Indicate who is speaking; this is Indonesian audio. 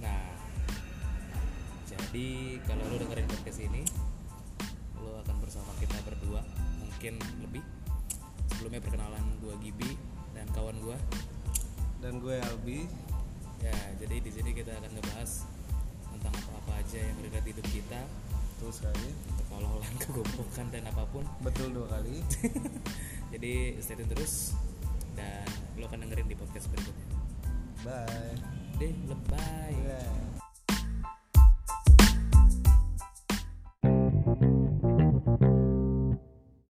Speaker 1: Nah, Jadi kalau lu dengerin podcast ini, lu akan bersama kita berdua, mungkin lebih. Sebelumnya perkenalan gua Gibi dan kawan gua.
Speaker 2: dan gue Albi
Speaker 1: Ya, jadi di sini kita akan ngebahas tentang apa-apa aja yang berdekat di hidup kita,
Speaker 2: betul sekali
Speaker 1: kekolololan, kegombokan dan apapun.
Speaker 2: betul dua kali
Speaker 1: Jadi stay tune terus dan lu akan dengerin di podcast berikutnya.
Speaker 2: bye
Speaker 1: Deh, lebay.
Speaker 2: Bye.